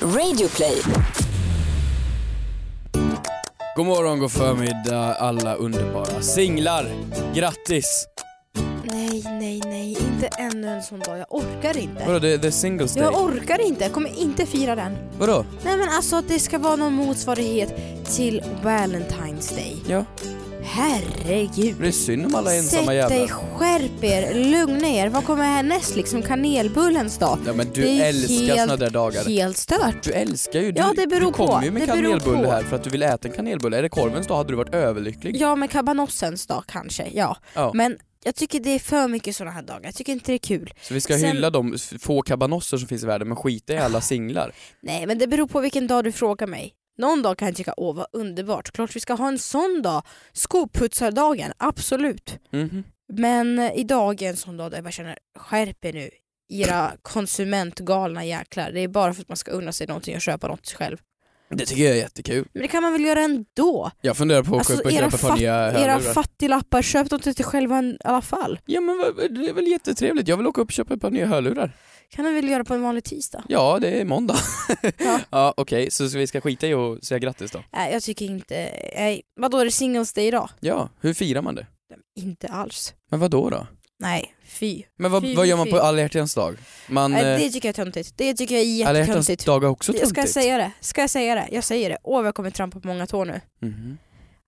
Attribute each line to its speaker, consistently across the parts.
Speaker 1: Radioplay.
Speaker 2: God morgon, god förmiddag alla underbara singlar. Grattis!
Speaker 3: Nej, nej, nej. Inte ännu en sån dag. Jag orkar inte.
Speaker 2: Vadå, det det är singles day?
Speaker 3: Jag orkar inte. Jag kommer inte fira den.
Speaker 2: Vadå?
Speaker 3: Nej men alltså det ska vara någon motsvarighet till Valentine's Day.
Speaker 2: Ja,
Speaker 3: Herregud.
Speaker 2: det är synd om alla ensamma
Speaker 3: Sätt dig,
Speaker 2: jävlar.
Speaker 3: skärp er, lugna er. Vad kommer härnäst liksom? Kanelbullens dag?
Speaker 2: Ja, men du
Speaker 3: det är
Speaker 2: älskar
Speaker 3: helt,
Speaker 2: såna där dagar.
Speaker 3: helt stört.
Speaker 2: Du älskar ju, du,
Speaker 3: Ja, det beror
Speaker 2: du kommer
Speaker 3: på.
Speaker 2: ju med
Speaker 3: Det beror
Speaker 2: kanelbulle
Speaker 3: på.
Speaker 2: här för att du vill äta en kanelbulle. Är det korvens dag hade du varit överlycklig.
Speaker 3: Ja men kabanossens dag kanske, ja.
Speaker 2: Ja.
Speaker 3: Men jag tycker det är för mycket såna här dagar. Jag tycker inte det är kul.
Speaker 2: Så vi ska
Speaker 3: Sen-
Speaker 2: hylla de s- få kabanosser som finns i världen men skita i alla singlar.
Speaker 3: Nej men det beror på vilken dag du frågar mig. Någon dag kan jag tycka åh vad underbart, klart vi ska ha en sån dag. Skoputsardagen, absolut.
Speaker 2: Mhm.
Speaker 3: Men eh, idag är en sån dag där jag bara känner skärp er nu era konsumentgalna jäklar. Det är bara för att man ska unna sig någonting och köpa något själv.
Speaker 2: Det tycker jag är jättekul.
Speaker 3: Men det kan man väl göra ändå?
Speaker 2: Jag funderar på att
Speaker 3: Alltså,
Speaker 2: köpa,
Speaker 3: era
Speaker 2: köpa ett par
Speaker 3: fatt-
Speaker 2: nya
Speaker 3: Era
Speaker 2: hörlurar.
Speaker 3: fattiglappar, köp dem till dig själva i alla fall.
Speaker 2: Ja men vad- det är väl jättetrevligt. Jag vill åka upp och köpa ett par nya hörlurar.
Speaker 3: Kan du väl göra på en vanlig tisdag?
Speaker 2: Ja, det är måndag.
Speaker 3: Ja.
Speaker 2: ja okej, så så vi ska skita i och säga grattis då?
Speaker 3: Nej jag tycker inte, nej. Vadå är det singles day idag?
Speaker 2: Ja, hur firar man det?
Speaker 3: Inte alls.
Speaker 2: Men vad då då?
Speaker 3: Nej, fy.
Speaker 2: Men vad,
Speaker 3: Fy,
Speaker 2: vad gör
Speaker 3: fy,
Speaker 2: man
Speaker 3: fy.
Speaker 2: på alla hjärtans dag? Man,
Speaker 3: Nej,
Speaker 2: Nej,
Speaker 3: det tycker jag är töntigt. Det tycker jag är
Speaker 2: alla hjärtans
Speaker 3: jättetöntigt.
Speaker 2: dag är också
Speaker 3: Jag ska jag
Speaker 2: töntigt.
Speaker 3: säga det? Ska jag säga det? Jag säger det. Åh vad jag kommer trampa på många tår nu.
Speaker 2: Mhm.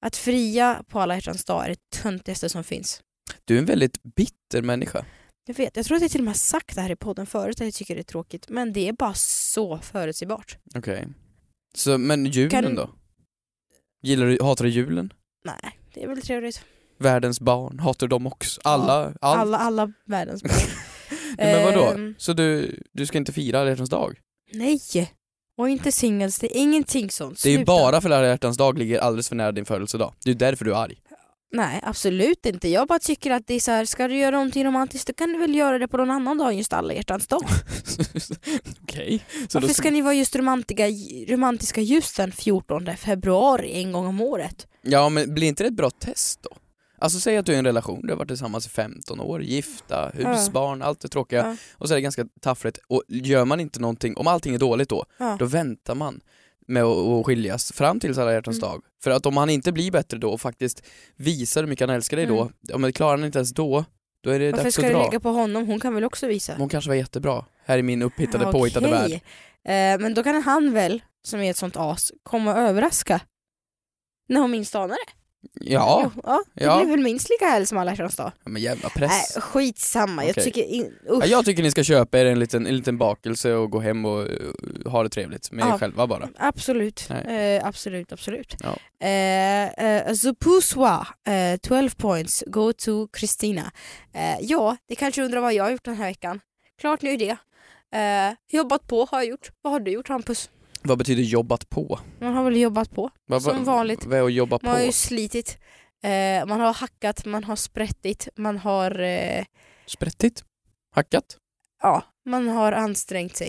Speaker 3: Att fria på alla hjärtans dag är det töntigaste som finns.
Speaker 2: Du är en väldigt bitter människa.
Speaker 3: Jag vet, jag tror att jag till och med har sagt det här i podden förut att jag tycker det är tråkigt. Men det är bara så förutsägbart.
Speaker 2: Okej. Så, men julen
Speaker 3: Kan-
Speaker 2: då? Gillar du, hatar du julen?
Speaker 3: Nej, det är väl trevligt.
Speaker 2: Världens barn, hatar du dem också? Alla? allt?
Speaker 3: Alla, alla världens barn.
Speaker 2: Nej, men vadå?
Speaker 3: Ehm,
Speaker 2: Så du, du ska inte fira alla hjärtans dag?
Speaker 3: nej! Och inte singles, det är ingenting sånt.
Speaker 2: Det är ju
Speaker 3: Sluta.
Speaker 2: bara för att alla hjärtans dag ligger alldeles för nära din födelsedag. Det är ju därför du är arg.
Speaker 3: Nej, absolut inte. Jag bara tycker att det är så här, ska du göra någonting romantiskt då kan du väl göra det på någon annan dag än just alla hjärtans dag.
Speaker 2: Okej. Så då
Speaker 3: Varför ska ni vara just romantiska, romantiska just den 14 februari en gång om året?
Speaker 2: Ja men blir inte det ett bra test då? Alltså säg att du är i en relation, du har varit tillsammans i 15 år, gifta, hus,
Speaker 3: Ja.
Speaker 2: barn, allt det tråkiga
Speaker 3: Ja.
Speaker 2: och så är det ganska taffligt och gör man inte någonting, om allting är dåligt då,
Speaker 3: Ja.
Speaker 2: då väntar man med att- att skiljas fram tills alla hjärtans
Speaker 3: Mm.
Speaker 2: dag. För att om han inte blir bättre då och faktiskt visar hur mycket han älskar dig
Speaker 3: Mm.
Speaker 2: då, om det klarar han inte ens då, då är det
Speaker 3: Varför
Speaker 2: dags
Speaker 3: ska
Speaker 2: att
Speaker 3: du
Speaker 2: dra.
Speaker 3: lägga på honom? Hon kan väl också visa?
Speaker 2: Hon kanske var jättebra, här i min upphittade
Speaker 3: Ja,
Speaker 2: påhittade
Speaker 3: Ah, okej.
Speaker 2: värld.
Speaker 3: Eh, men då kan han väl, som är ett sånt as, komma och överraska. När hon minst anar det.
Speaker 2: Ja,
Speaker 3: Jo, ja det
Speaker 2: Ja.
Speaker 3: blir väl minst lika härligt som alla hjärtans dag.
Speaker 2: men jävla
Speaker 3: Nej,
Speaker 2: press.
Speaker 3: skitsamma.
Speaker 2: Okej.
Speaker 3: Jag tycker in,
Speaker 2: Ja,
Speaker 3: usch.
Speaker 2: jag tycker ni ska köpa er en liten, en liten bakelse och gå hem och eh, ha det trevligt med er
Speaker 3: Ja.
Speaker 2: själva bara.
Speaker 3: Absolut.
Speaker 2: Nej.
Speaker 3: Eh, absolut, absolut.
Speaker 2: Ja.
Speaker 3: Eh, eh, Zupuswa, eh, 12 points, go to Kristina. Eh, ja, det kanske undrar vad jag har gjort den här veckan. Klart nu är det. Eh, jobbat på har jag gjort. Vad har du gjort Hampus?
Speaker 2: Vad betyder jobbat på?
Speaker 3: Man har väl jobbat på.
Speaker 2: Vad-
Speaker 3: Som
Speaker 2: vad-
Speaker 3: vanligt.
Speaker 2: Vad är att jobba
Speaker 3: Man har
Speaker 2: på?
Speaker 3: ju slitit. Eh, man har hackat, man har sprättit, man har, eh,
Speaker 2: Sprättigt? Hackat?
Speaker 3: ja, man har ansträngt sig.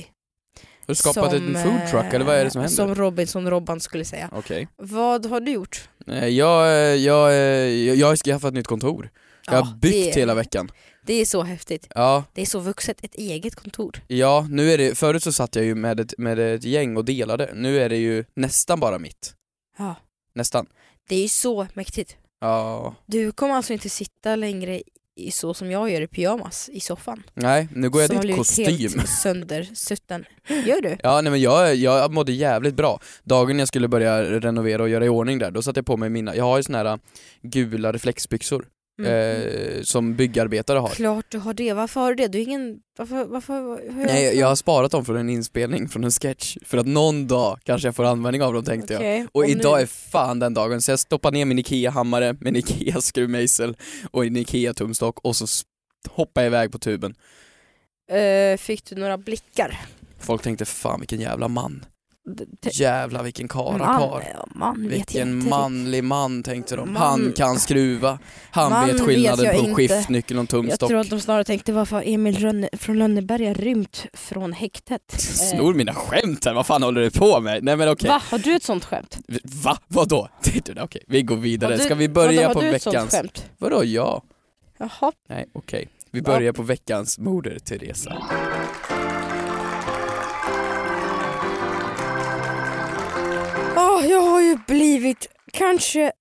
Speaker 2: Har du skapat
Speaker 3: Som,
Speaker 2: en foodtruck
Speaker 3: eh,
Speaker 2: eller vad är det som händer?
Speaker 3: Som Robinson-Robban skulle säga.
Speaker 2: Okej.
Speaker 3: Vad har du gjort?
Speaker 2: Eh, Jag, eh, jag, eh, jag, jag har skaffat ett nytt kontor. jag har byggt
Speaker 3: det,
Speaker 2: hela veckan.
Speaker 3: det är så häftigt.
Speaker 2: Ja,
Speaker 3: Det är så vuxet, ett eget kontor.
Speaker 2: ja, nu är det, förut så satt jag ju med ett, med ett gäng och delade. Nu är det ju nästan bara mitt.
Speaker 3: Ja.
Speaker 2: Nästan.
Speaker 3: Det är ju så mäktigt.
Speaker 2: Ja.
Speaker 3: Du kommer alltså inte sitta längre i så som jag gör i pyjamas i soffan.
Speaker 2: Nej, nu går jag
Speaker 3: som har
Speaker 2: dit i
Speaker 3: blivit
Speaker 2: kostym.
Speaker 3: helt söndersutten. Gör du?
Speaker 2: Ja, nej men jag, jag mådde jävligt bra. Dagen jag skulle börja renovera och göra i ordning där, då satte jag på mig mina, jag har ju såna här äh, gula reflexbyxor eh, som byggarbetare har.
Speaker 3: Mm. Klart du har det. Varför har du det? Du är ingen... Varför... varför vad- hur-
Speaker 2: Nej, jag har sparat dem från en inspelning, från en sketch, för att någon dag kanske jag får användning av dem tänkte jag.
Speaker 3: Okej,
Speaker 2: Och
Speaker 3: nu-
Speaker 2: idag är fan den dagen, så jag stoppar ner min IKEA-hammare, min IKEA-skruvmejsel och en IKEA-tumstock och så s- hoppar jag iväg på tuben.
Speaker 3: Eh, fick du några blickar?
Speaker 2: Folk tänkte fan vilken jävla man,
Speaker 3: D- te-
Speaker 2: jävla vilken kara kar.
Speaker 3: man, eh, ja, man vet jag
Speaker 2: Vilken
Speaker 3: inte.
Speaker 2: manlig man tänkte de.
Speaker 3: Man-
Speaker 2: Han kan skruva. Han
Speaker 3: Man
Speaker 2: vet
Speaker 3: vet
Speaker 2: skillnaden
Speaker 3: jag
Speaker 2: på
Speaker 3: inte.
Speaker 2: skiftnyckel och en
Speaker 3: Jag
Speaker 2: tumstock.
Speaker 3: tror att de snarare tänkte varför har Emil Rönne, från Lönneberga rymt från häktet? Eh,
Speaker 2: Snor mina skämt här, vad fan håller du på med? Nej men okej.
Speaker 3: Va, har du ett sånt skämt?
Speaker 2: Va? Vadå? Titta, Okej, vi går
Speaker 3: Har
Speaker 2: vidare.
Speaker 3: du-
Speaker 2: Ska vi börja
Speaker 3: vadå,
Speaker 2: på
Speaker 3: har du ett sånt
Speaker 2: veckans...
Speaker 3: skämt?
Speaker 2: Vadå ja?
Speaker 3: Jaha.
Speaker 2: Nej, okej. Vi
Speaker 3: Va?
Speaker 2: börjar på veckans moder Teresa.
Speaker 3: Åh, jag har ju blivit kanske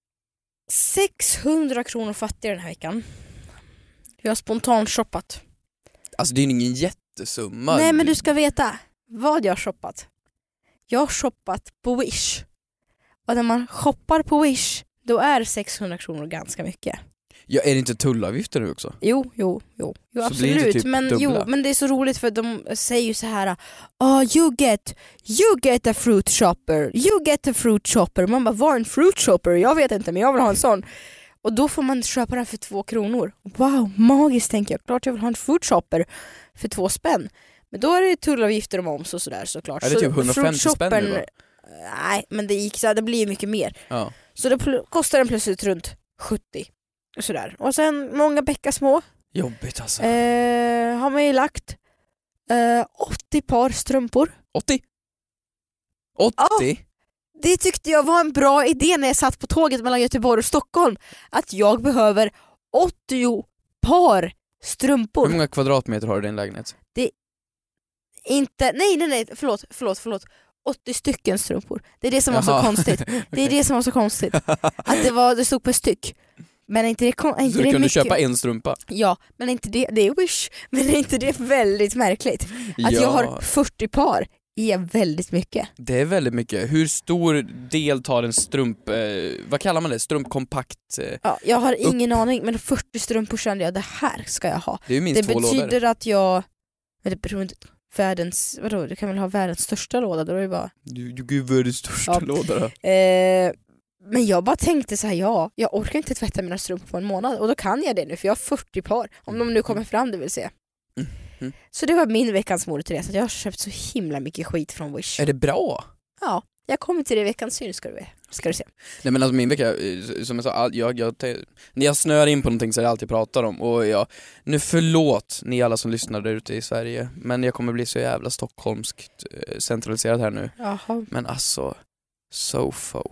Speaker 3: 600 kronor fattig den här veckan. Jag har spontant shoppat.
Speaker 2: Alltså det är ju ingen jättesumma.
Speaker 3: Nej men du ska veta vad jag har shoppat. Jag har shoppat på Wish. Och när man shoppar på Wish då är 600 kronor ganska mycket.
Speaker 2: Ja, är det inte tullavgifter nu också?
Speaker 3: Jo, jo, jo. jo
Speaker 2: Så blir det
Speaker 3: absolut.
Speaker 2: typ
Speaker 3: men,
Speaker 2: dubbla.
Speaker 3: jo, men det är så roligt för de säger ju så här oh, you, get, you get a fruit shopper, you get a fruit shopper. Man bara, vad är en fruit shopper? Jag vet inte men jag vill ha en sån. Och då får man köpa den för två kronor. Wow, magiskt tänker jag. Klart jag vill ha en fruit shopper för två spänn. Men då är det tullavgifter och moms och sådär såklart.
Speaker 2: Är det
Speaker 3: Så
Speaker 2: typ 150 spänn nu
Speaker 3: fruitshoppern-
Speaker 2: bara?
Speaker 3: Nej, men det, gick, så här, det blir ju mycket mer.
Speaker 2: Ja.
Speaker 3: Så det pl- kostar den plötsligt runt 70. Och sådär. Och sen många bäckar små
Speaker 2: Jobbigt alltså.
Speaker 3: eh, har man ju lagt eh, 80 par strumpor.
Speaker 2: 80?
Speaker 3: Ah!
Speaker 2: 80?
Speaker 3: Det tyckte jag var en bra idé när jag satt på tåget mellan Göteborg och Stockholm. Att jag behöver 80 par strumpor.
Speaker 2: Hur många kvadratmeter har du i din lägenhet?
Speaker 3: Inte, nej nej nej, förlåt, förlåt, förlåt. 80 stycken strumpor. Det är det som var
Speaker 2: Jaha.
Speaker 3: så konstigt. Det är det som var så konstigt. Att det, var, det stod på styck. Men är inte det, kon- är inte
Speaker 2: Så du
Speaker 3: det
Speaker 2: kunde
Speaker 3: mycket?
Speaker 2: köpa en strumpa?
Speaker 3: Ja, men är inte det, det är Wish. Men är inte det väldigt märkligt? Att jag har 40 par är väldigt mycket.
Speaker 2: Det är väldigt mycket. Hur stor del tar en strump, eh, vad kallar man det, strumpkompakt? Eh,
Speaker 3: Ja, jag har ingen aning men 40 strumpor kände jag det här ska jag ha.
Speaker 2: det är ju minst
Speaker 3: Det
Speaker 2: två lådor.
Speaker 3: betyder att jag, men det beror inte världens, vadå du kan väl ha världens största låda då är det bara.
Speaker 2: Du, du gud vad är det största
Speaker 3: Ja.
Speaker 2: låda då?
Speaker 3: Eh, men jag bara tänkte så här, ja jag orkar inte tvätta mina strumpor på en månad och då kan jag det nu för jag har 40 par. Om de nu kommer fram det vill säga.
Speaker 2: Mhm.
Speaker 3: Så det var min veckans modeträs, att jag har köpt så himla mycket skit från Wish.
Speaker 2: Är det bra?
Speaker 3: Jag kommer till det i veckans syn ska du, ska du se.
Speaker 2: Nej men alltså min vecka, eh, som jag sa, all- jag, jag, te- när jag snör in på någonting så är det allt jag pratar om och jag, nu förlåt ni alla som lyssnar där ute i Sverige, men jag kommer bli så jävla stockholmskt eh, centraliserad här nu.
Speaker 3: Jaha.
Speaker 2: Men alltså, sofo.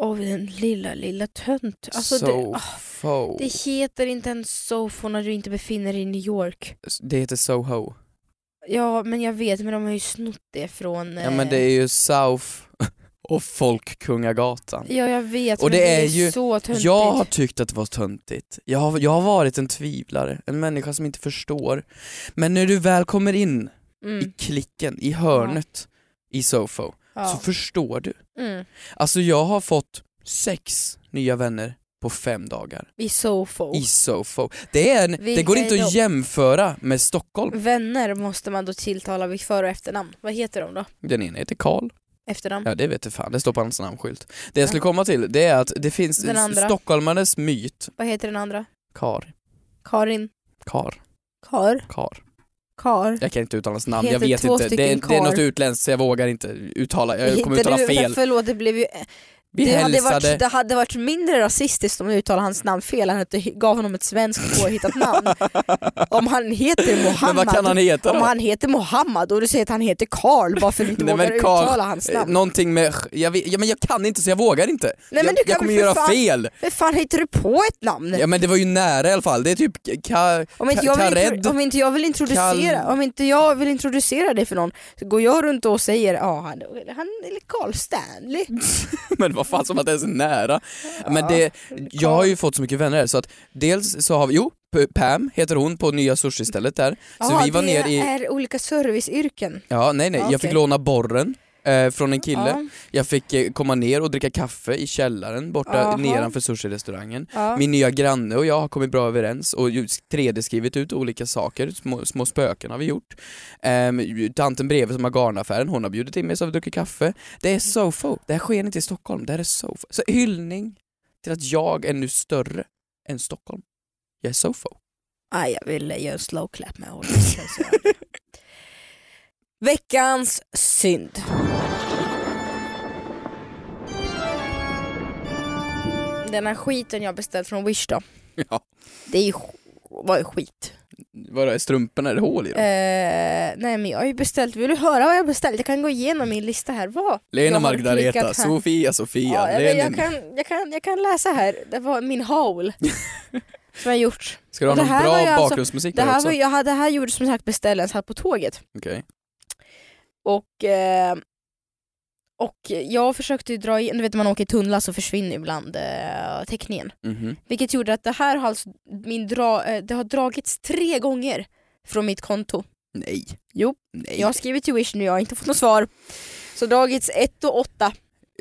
Speaker 3: Och den lilla, lilla tönt. Alltså det, ah,
Speaker 2: Sofo.
Speaker 3: det heter inte ens Sofo när du inte befinner dig i New York.
Speaker 2: Det heter Soho.
Speaker 3: Ja, men jag vet, men de har ju snott det från...
Speaker 2: Ja men det är ju South och Folkungagatan.
Speaker 3: eh, Ja, jag vet,
Speaker 2: Och
Speaker 3: men
Speaker 2: det
Speaker 3: det
Speaker 2: är ju-
Speaker 3: så töntigt.
Speaker 2: Jag har tyckt att det var töntigt. Jag har, jag har varit en tvivlare, en människa som inte förstår. Men när du väl kommer in i
Speaker 3: Mm,
Speaker 2: klicken, i hörnet, i Sofo, så
Speaker 3: ja.
Speaker 2: förstår du.
Speaker 3: mm.
Speaker 2: Alltså jag har fått sex nya vänner på fem dagar
Speaker 3: I Sofo.
Speaker 2: i Sofo. Det, är en, det
Speaker 3: Oh. Vilka
Speaker 2: går
Speaker 3: är
Speaker 2: inte att
Speaker 3: de? Mm.
Speaker 2: jämföra med Stockholm.
Speaker 3: Vänner måste man då tilltala vid för och efternamn. Vad heter de då?
Speaker 2: Den ena heter Karl,
Speaker 3: Efternamn?
Speaker 2: Ja det vet du fan, det står på hans namnskylt. Det jag skulle komma till det är att det finns
Speaker 3: Den andra.
Speaker 2: stockholmares myt,
Speaker 3: Vad heter den andra?
Speaker 2: kar,
Speaker 3: Karin?
Speaker 2: kar,
Speaker 3: Kar?
Speaker 2: kar.
Speaker 3: Kar?
Speaker 2: Jag kan inte uttala hans namn,
Speaker 3: Heter
Speaker 2: jag vet
Speaker 3: två
Speaker 2: inte. Det är,
Speaker 3: stycken
Speaker 2: det är
Speaker 3: kar.
Speaker 2: något utländskt så jag vågar inte uttala, jag
Speaker 3: Heter
Speaker 2: kommer uttala
Speaker 3: du-
Speaker 2: fel.
Speaker 3: Förlåt, det blev ju
Speaker 2: Vi
Speaker 3: det, hade varit,
Speaker 2: hälsade,
Speaker 3: det hade varit mindre rasistiskt om du uttalade hans namn fel än att du gav honom ett svenskt påhittat namn. Om han heter
Speaker 2: men vad kan han
Speaker 3: Mohammed,
Speaker 2: heta
Speaker 3: om
Speaker 2: då?
Speaker 3: han heter Mohammed och du säger att han heter Karl bara för att du inte
Speaker 2: Nej,
Speaker 3: vågar
Speaker 2: men Karl-
Speaker 3: uttala hans
Speaker 2: Eh,
Speaker 3: namn.
Speaker 2: Någonting med, jag, vet, ja, men jag kan inte så jag vågar inte.
Speaker 3: Nej, men
Speaker 2: jag,
Speaker 3: du
Speaker 2: jag
Speaker 3: kan
Speaker 2: kommer
Speaker 3: väl för
Speaker 2: göra
Speaker 3: fan-
Speaker 2: fel.
Speaker 3: Hur fan hittar du på ett namn?
Speaker 2: Ja men det var ju nära i alla fall, det är typ ka,
Speaker 3: om, inte jag vill,
Speaker 2: Kared.
Speaker 3: intro- om inte jag vill introducera,
Speaker 2: Kal-
Speaker 3: om inte jag vill introducera dig för någon så går jag runt och säger ja han, han är Karl Stanley.
Speaker 2: men vad fan som att det är så nära. Men det, Jag har ju fått så mycket vänner här så att dels så har vi, jo P- Pam heter hon på nya sushistället där. Så
Speaker 3: Jaha,
Speaker 2: vi var
Speaker 3: det
Speaker 2: ner i,
Speaker 3: är olika serviceyrken.
Speaker 2: ja nej nej, jag
Speaker 3: Ja, okej. Mm,
Speaker 2: fick låna borren eh, från en kille.
Speaker 3: Ja,
Speaker 2: Jag fick eh, komma ner och dricka kaffe i källaren borta
Speaker 3: Jaha.
Speaker 2: nedanför sushi-restaurangen.
Speaker 3: ja.
Speaker 2: Min nya granne och jag har kommit bra överens och ju 3D-skrivit ut olika saker, små, små spöken har vi gjort. Ehm, ju- tanten bredvid som har garnaffären, hon har bjudit in mig så vi dricker kaffe. Det är Sofo, det här sker inte i Stockholm, det här är Sofo. Så hyllning till att jag är nu större än Stockholm. Jag är Sofo.
Speaker 3: Ah, jag ville göra en slow clap med honom. Veckans synd. Den här skiten jag beställt från Wish då.
Speaker 2: Ja.
Speaker 3: Det är ju, var ju skit.
Speaker 2: Vadå, är strumporna, är det hål i
Speaker 3: Eh,
Speaker 2: dem?
Speaker 3: nej men jag har ju beställt, vill du höra vad jag beställt? Jag kan gå igenom min lista här. Vad? jag
Speaker 2: Lena
Speaker 3: har
Speaker 2: Margareta,
Speaker 3: klickat här.
Speaker 2: Sofia, Sofia,
Speaker 3: Ja, jag, jag,
Speaker 2: Lenin.
Speaker 3: kan, jag, kan, jag kan läsa här, det var min haul som jag gjort.
Speaker 2: Ska du ha
Speaker 3: Och det
Speaker 2: någon
Speaker 3: här var ju
Speaker 2: bra
Speaker 3: alltså-
Speaker 2: bakgrundsmusik
Speaker 3: Det
Speaker 2: här
Speaker 3: här,
Speaker 2: också?
Speaker 3: var, jag, hade- det här gjorde som sagt beställaren satt på tåget.
Speaker 2: Okej.
Speaker 3: Och eh, Och jag försökte ju dra in, du vet när man åker tunnlar så försvinner ibland eh, teckningen.
Speaker 2: Mhm.
Speaker 3: Vilket gjorde att det här har alltså min dra, eh, det har dragits tre gånger från mitt konto.
Speaker 2: Nej.
Speaker 3: Jo,
Speaker 2: Nej.
Speaker 3: Jag har skrivit till Wish nu, jag har inte fått något svar. Så dragits ett och åtta.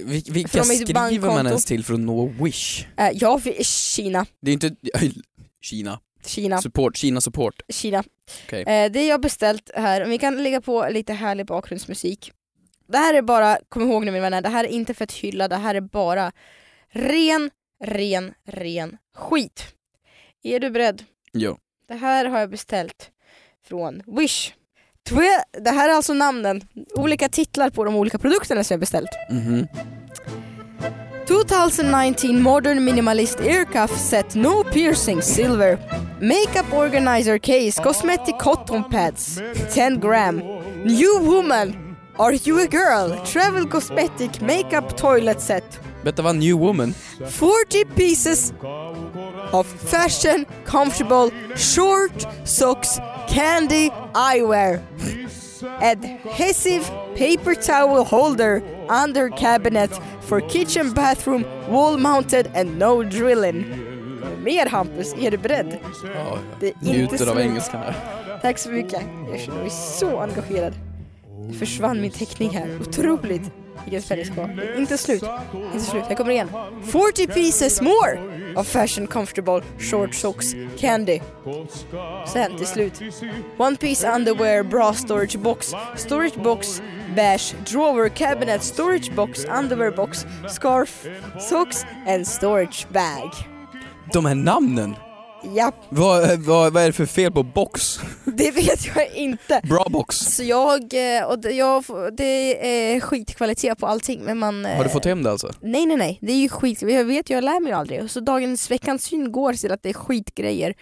Speaker 2: Vil- vilka
Speaker 3: från mitt
Speaker 2: skriver man
Speaker 3: bankkonto.
Speaker 2: ens till för att nå Wish?
Speaker 3: Eh, jag vill, Kina,
Speaker 2: Det är inte... Kina.
Speaker 3: Kina,
Speaker 2: Support. Kina support.
Speaker 3: Kina.
Speaker 2: Okej.
Speaker 3: Eh, det jag har beställt här, om vi kan lägga på lite härlig bakgrundsmusik. Det här är bara, kom ihåg nu mina vänner, det här är inte för att hylla, det här är bara ren, ren, ren skit. Är du beredd?
Speaker 2: Jo.
Speaker 3: Det här har jag beställt från Wish. Twe- det här är alltså namnen, olika titlar på de olika produkterna som jag beställt.
Speaker 2: Mhm.
Speaker 3: 2019 modern minimalist ear cuff set no piercing silver makeup organizer case cosmetic cotton pads 10 gram new woman are you a girl travel cosmetic makeup toilet set
Speaker 2: Detta var New Woman.
Speaker 3: 40 pieces of fashion comfortable short socks candy eyewear adhesive paper towel holder under cabinet for kitchen bathroom wall mounted and no drilling Mer Hampus, är du beredd?
Speaker 2: Ja,
Speaker 3: Det är inte
Speaker 2: njuter av
Speaker 3: slut.
Speaker 2: engelskan här.
Speaker 3: Tack så mycket. Jag känner mig så engagerad. Nu försvann min teckning här. Otroligt. Vilken färgskap. Det är Inte slut. Inte slut. Jag kommer igen. 40 pieces more of fashion comfortable short socks candy. Sen till slut. One piece underwear bra storage box. Storage box bash drawer cabinet storage box underwear box scarf socks and storage bag.
Speaker 2: De här namnen!
Speaker 3: Japp,
Speaker 2: Vad, eh, vad, vad är det för fel på box?
Speaker 3: det vet jag inte.
Speaker 2: Bra box!
Speaker 3: Så jag, eh, och det- jag, får- det är skitkvalitet på allting men man... eh,
Speaker 2: Har du fått hem det alltså?
Speaker 3: Nej nej nej, det är ju skit, jag vet jag lär mig ju aldrig. Så dagens, veckans syn går till att det är skitgrejer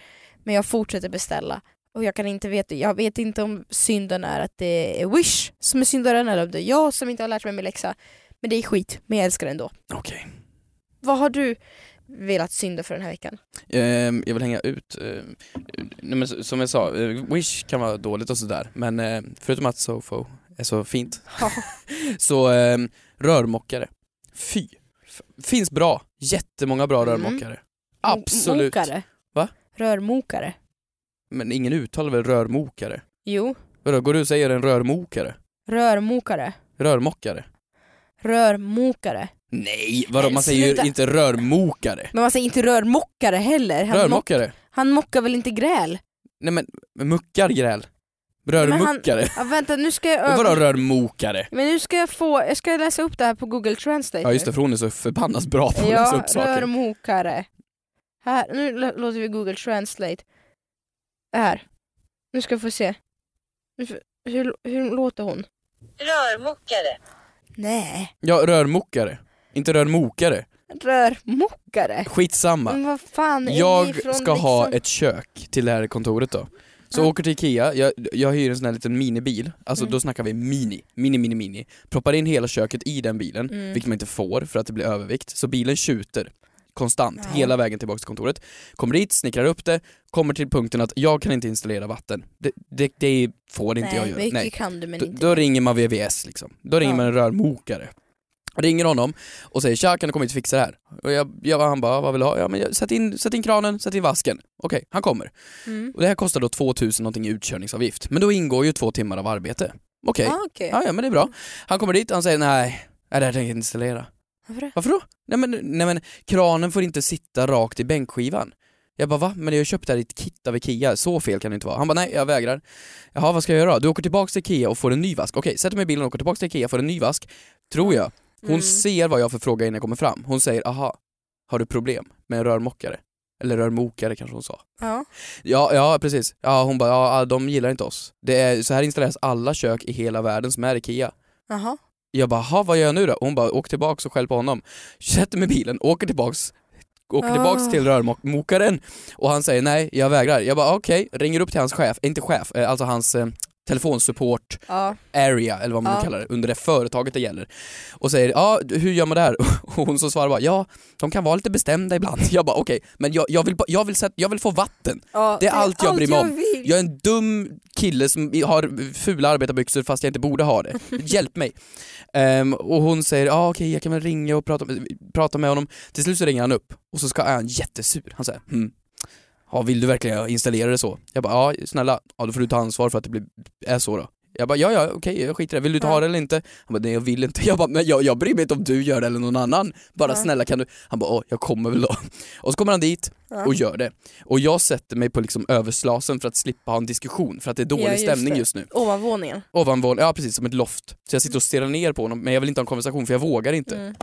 Speaker 3: men jag fortsätter beställa. Och jag kan inte veta, jag vet inte om synden är att det är Wish som är syndaren eller om det är jag som inte har lärt mig min läxa. Men det är skit, men jag älskar det ändå.
Speaker 2: Okej.
Speaker 3: Vad har du velat synda för den här veckan?
Speaker 2: Ehm, jag vill hänga ut, ehm, nej, men s- som jag sa, eh, Wish kan vara dåligt och sådär, men eh, förutom att Sofo är så fint,
Speaker 3: Ja.
Speaker 2: så ehm, rörmokare, fy. F- Finns bra, jättemånga bra
Speaker 3: Mm.
Speaker 2: rörmokare. Absolut.
Speaker 3: Mokare.
Speaker 2: Va?
Speaker 3: Rörmokare.
Speaker 2: Men ingen uttalar väl rörmokare?
Speaker 3: Jo,
Speaker 2: Vadå, går du och säger en rörmokare?
Speaker 3: rörmokare.
Speaker 2: Rörmokare?
Speaker 3: Rörmokare.
Speaker 2: Nej, vadå, man
Speaker 3: Nej,
Speaker 2: säger
Speaker 3: sluta.
Speaker 2: ju inte rörmokare.
Speaker 3: Men man säger inte rörmokare heller. Han, mock,
Speaker 2: Rörmokare?
Speaker 3: han mockar väl inte gräl?
Speaker 2: Nej men, men muckar gräl.
Speaker 3: han-
Speaker 2: Rörmokare?
Speaker 3: Ja, vänta, nu ska jag
Speaker 2: Men
Speaker 3: öva.
Speaker 2: Vadå rörmokare?
Speaker 3: Men nu ska jag få, jag ska läsa upp det här på google translate.
Speaker 2: Ja just det, för hon är så förbannat bra på att läsa
Speaker 3: Ja,
Speaker 2: upp saker.
Speaker 3: rörmokare. Här, nu lå- låter vi google translate. Här. Nu ska jag få se. Nu f- Hur, hur låter hon?
Speaker 1: Rörmokare.
Speaker 3: Nej.
Speaker 2: Ja, rörmokare. Inte
Speaker 3: Mm.
Speaker 2: rörmokare.
Speaker 3: Rörmokare?
Speaker 2: Skitsamma.
Speaker 3: Men vad fan är Mm, ni
Speaker 2: Jag
Speaker 3: från
Speaker 2: ska ha
Speaker 3: liksom-
Speaker 2: ett kök till det här kontoret då. Så
Speaker 3: Ja.
Speaker 2: åker till Ikea, jag, jag hyr en sån här liten minibil, alltså
Speaker 3: Mm.
Speaker 2: då snackar vi mini, mini mini mini. Proppar in hela köket i den bilen,
Speaker 3: Mm.
Speaker 2: vilket man inte får för att det blir övervikt. Så bilen tjuter konstant
Speaker 3: Ja.
Speaker 2: hela vägen tillbaka till kontoret. Kommer dit, snickrar upp det, kommer till punkten att jag kan inte installera vatten. Det, det, det får inte
Speaker 3: Nej,
Speaker 2: jag göra.
Speaker 3: mycket
Speaker 2: Nej.
Speaker 3: kan du men
Speaker 2: Då,
Speaker 3: inte.
Speaker 2: då ringer man VVS liksom. Då ringer
Speaker 3: Ja.
Speaker 2: man en rörmokare. Ringer honom och säger tja kan du komma hit och fixa det här? Och jag, jag, han bara, vad vill du ha? Ja, men jag, sätt, in, sätt in kranen, sätt in vasken. Okej, han kommer.
Speaker 3: Mm.
Speaker 2: Och det här kostar då 2000 någonting i utkörningsavgift. Men då ingår ju två timmar av arbete. Okej,
Speaker 3: Ah, okej.
Speaker 2: ja, ja men det är bra. Han kommer dit och han säger nej, nej det här tänker jag inte installera.
Speaker 3: Varför det?
Speaker 2: Varför då? Nej men, nej men kranen får inte sitta rakt i bänkskivan. Jag bara va? Men jag köpte det här i ett kit av Ikea, så fel kan det inte vara. Han bara nej, jag vägrar. Jaha, vad ska jag göra då? Du åker tillbaks till Ikea och får en ny vask. Okej, sätter mig i bilen och åker tillbaks till Ikea och får en ny vask. Tror jag. Hon
Speaker 3: Mm.
Speaker 2: ser vad jag för fråga innan jag kommer fram. Hon säger aha, har du problem med en rörmokare? Eller rörmokare kanske hon sa.
Speaker 3: Ja.
Speaker 2: Ja, ja precis. Ja, hon bara ja, de gillar inte oss. Det är, så här installeras alla kök i hela världen som är Ikea.
Speaker 3: Jaha.
Speaker 2: Jag bara, "Ha, vad gör jag nu då? Hon bara, åk tillbaks och skäll på honom. Sätter mig i bilen, åker tillbaks, åker
Speaker 3: Ah.
Speaker 2: tillbaks till rörmokaren och han säger nej, jag vägrar. Jag bara, okej, ringer upp till hans chef, inte chef, eh, alltså hans eh, telefonsupport
Speaker 3: Ja.
Speaker 2: area eller vad man nu
Speaker 3: Ja.
Speaker 2: kallar det, under det företaget det gäller. Och säger, ja hur gör man det här? Och hon som svarar bara, ja de kan vara lite bestämda ibland. Jag bara okej, men jag, jag, vill, ba- jag, vill sätta, jag vill få vatten.
Speaker 3: Ja,
Speaker 2: Det är allt jag bryr mig om.
Speaker 3: vill. vill.
Speaker 2: Jag är en dum kille som har fula arbetarbyxor fast jag inte borde ha det. Hjälp mig. Ehm, och hon säger, ja ah, okej jag kan väl ringa och prata, med- prata med honom. Till slut så ringer han upp och så ska, är han jättesur. Han säger, hm. Ja, vill du verkligen installera det så? Jag bara, ja snälla, ja, då får du ta ansvar för att det blir, är så då. Jag bara, ja ja okej jag skiter i det, vill du inte
Speaker 3: Ja.
Speaker 2: ha det eller inte? Han bara, nej jag vill inte. Jag bara, men jag, jag bryr mig inte om du gör det eller någon annan. Bara
Speaker 3: Ja.
Speaker 2: snälla kan du? Han bara, åh jag kommer väl då. Och så kommer han dit
Speaker 3: Ja.
Speaker 2: och gör det. Och jag sätter mig på liksom överslasen för att slippa ha en diskussion för att det är dålig
Speaker 3: Ja, just
Speaker 2: stämning
Speaker 3: det.
Speaker 2: just nu.
Speaker 3: Ovanvåningen.
Speaker 2: Ovanvåningen, ja precis som ett loft. Så jag sitter och stirrar ner på honom men jag vill inte ha en konversation för jag vågar inte.
Speaker 3: Mm.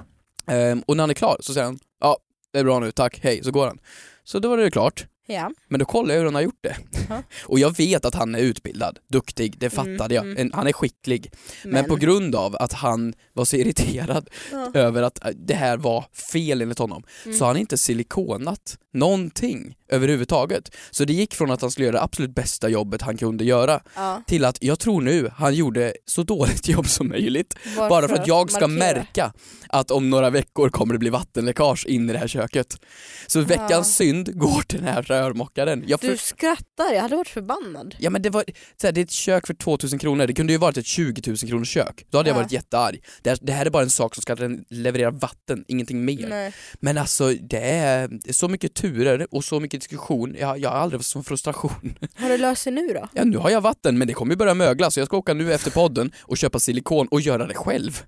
Speaker 2: Ehm, och när han är klar så säger han ja det är bra nu, tack, hej, så går han. Så då var det klart.
Speaker 3: Ja.
Speaker 2: Men då kollar jag hur han har gjort det.
Speaker 3: Ja.
Speaker 2: Och jag vet att han är utbildad, duktig, det
Speaker 3: Mm,
Speaker 2: fattade jag.
Speaker 3: mm.
Speaker 2: En- Han är skicklig. Men. på grund av att han var så irriterad
Speaker 3: Ja.
Speaker 2: över att eh, det här var fel enligt honom
Speaker 3: Mm.
Speaker 2: så har han inte silikonat någonting överhuvudtaget. Så det gick från att han skulle göra det absolut bästa jobbet han kunde göra
Speaker 3: Ja.
Speaker 2: till att jag tror nu han gjorde så dåligt jobb som möjligt bara för att jag ska
Speaker 3: markera.
Speaker 2: märka att om några veckor kommer det bli vattenläckage in i det här köket. Så veckans synd går till den här rörmokaren. Jag för...
Speaker 3: Du skrattar, jag hade varit förbannad.
Speaker 2: Ja men det var, så här, det är ett kök för 2000 kronor, det kunde ju varit ett 20 000 kronors kök. Då hade jag
Speaker 3: Ja.
Speaker 2: varit jättearg. Det här, det här är bara en sak som ska ren- leverera vatten, ingenting mer.
Speaker 3: Nej.
Speaker 2: Men alltså det är så mycket turer och så mycket diskussion, jag, jag har aldrig varit så frustration.
Speaker 3: Har det löst sig nu då?
Speaker 2: Ja nu har jag vatten men det kommer ju börja mögla så jag ska åka nu efter podden och köpa silikon och göra det själv.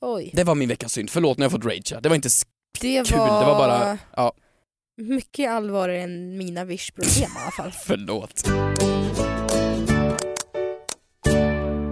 Speaker 3: Oj.
Speaker 2: Det var min veckans synd, förlåt när jag fått ragea. Det var inte sk-
Speaker 3: Det var,
Speaker 2: kul, det var bara, ja
Speaker 3: mycket allvarligare än mina vischproblem i alla fall.
Speaker 2: förlåt.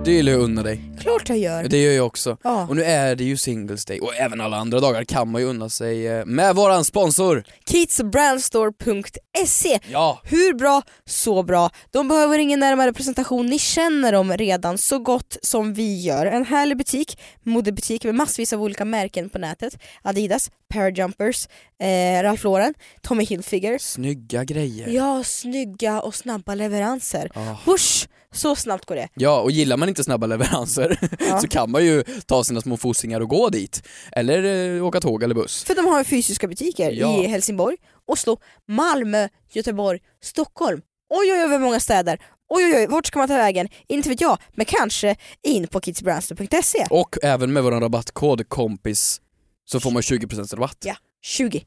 Speaker 2: Det gillar jag att unna dig,
Speaker 3: Klart jag gör.
Speaker 2: det gör jag också.
Speaker 3: Ja.
Speaker 2: Och nu är det ju Singles Day och även alla andra dagar kan man ju unna sig eh, med våran sponsor!
Speaker 3: Kidsbrandstore.se
Speaker 2: Ja!
Speaker 3: Hur bra? Så bra. De behöver ingen närmare presentation, ni känner dem redan så gott som vi gör. En härlig butik, modebutik med massvis av olika märken på nätet. Adidas, Parajumpers, eh, Ralph Lauren, Tommy Hilfiger.
Speaker 2: Snygga grejer.
Speaker 3: Ja, snygga och snabba leveranser.
Speaker 2: Ah.
Speaker 3: Whoosh! Så snabbt går det.
Speaker 2: Ja, och gillar man inte snabba leveranser
Speaker 3: Ja.
Speaker 2: så kan man ju ta sina små fossingar och gå dit. Eller eh, åka tåg eller buss.
Speaker 3: För de har ju fysiska butiker
Speaker 2: Ja.
Speaker 3: i Helsingborg, Oslo, Malmö, Göteborg, Stockholm. Oj oj oj vad många städer. Oj oj oj, vart ska man ta vägen? Inte vet jag, men kanske in på kidsbrandstore.se.
Speaker 2: Och även med vår rabattkod KOMPIS så får man 20% rabatt.
Speaker 3: Ja, 20.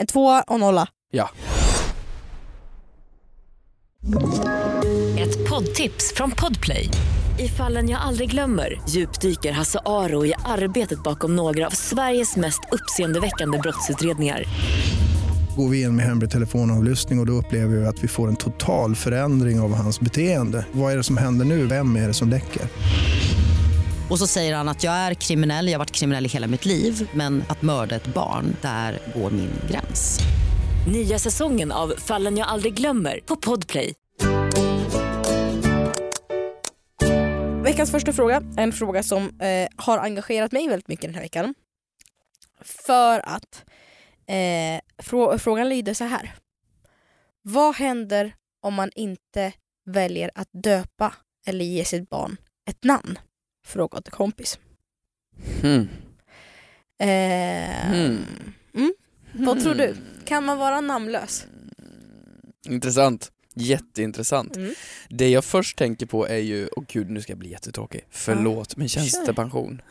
Speaker 3: En tvåa och nolla.
Speaker 4: Ett poddtips från Podplay. I fallen jag aldrig glömmer djupdyker Hasse Aro i arbetet bakom några av Sveriges mest uppseendeväckande brottsutredningar.
Speaker 5: går vi in med hemlig telefonavlyssning och, och då upplever vi att vi får en total förändring av hans beteende. Vad är det som händer nu? Vem är det som läcker?
Speaker 6: Och så säger han att jag är kriminell, jag har varit kriminell i hela mitt liv men att mörda ett barn, där går min gräns.
Speaker 4: Nya säsongen av Fallen jag aldrig glömmer på Podplay.
Speaker 3: Veckans första fråga, en fråga som eh, har engagerat mig väldigt mycket den här veckan. För att eh, frå- frågan lyder så här. Vad händer om man inte väljer att döpa eller ge sitt barn ett namn? Frågade kompis.
Speaker 2: Mm.
Speaker 3: Eh,
Speaker 2: Mm.
Speaker 3: Mm. Vad tror
Speaker 2: Hmm.
Speaker 3: du? Kan man vara namnlös?
Speaker 2: Intressant. Jätteintressant.
Speaker 3: Mm.
Speaker 2: Det jag först tänker på är ju, åh gud nu ska jag bli jättetråkig, förlåt men tjänstepension.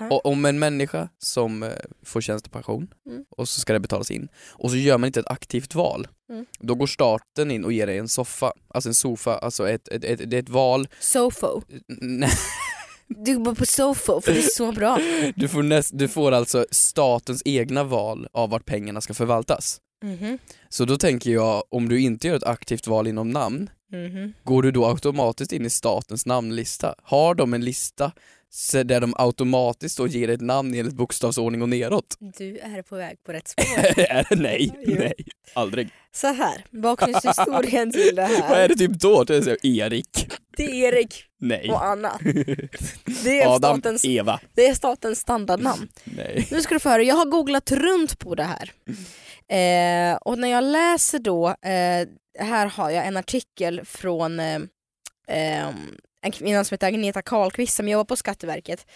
Speaker 3: Ja.
Speaker 2: Och om en människa som eh, får tjänstepension
Speaker 3: Mm.
Speaker 2: och så ska det betalas in och så gör man inte ett aktivt val,
Speaker 3: Mm.
Speaker 2: då går staten in och ger dig en soffa, alltså en sofa, alltså ett, ett, ett, det är ett val,
Speaker 3: Sofo.
Speaker 2: Nej,
Speaker 3: Du går på sofo för det är så bra.
Speaker 2: du, får näst, du får alltså statens egna val av vart pengarna ska förvaltas.
Speaker 3: Mhm.
Speaker 2: Så då tänker jag, om du inte gör ett aktivt val inom namn,
Speaker 3: Mhm.
Speaker 2: går du då automatiskt in i statens namnlista? Har de en lista så- där de automatiskt då ger ett namn enligt bokstavsordning och neråt?
Speaker 3: Du är på väg på rätt spår.
Speaker 2: Är det nej?
Speaker 3: Jo.
Speaker 2: Nej, aldrig.
Speaker 3: Så här, bakgrundshistorien till det här.
Speaker 2: Vad är det typ då? Det är så här, Erik?
Speaker 3: Det är Erik
Speaker 2: Nej.
Speaker 3: och Anna. Det är,
Speaker 2: Adam?
Speaker 3: statens,
Speaker 2: Eva?
Speaker 3: det är statens standardnamn.
Speaker 2: Nej.
Speaker 3: Nu ska du få höra, jag har googlat runt på det här. Eh, och när jag läser då, eh, här har jag en artikel från eh, eh, en kvinna som heter Agneta Karlqvist som jobbar på Skatteverket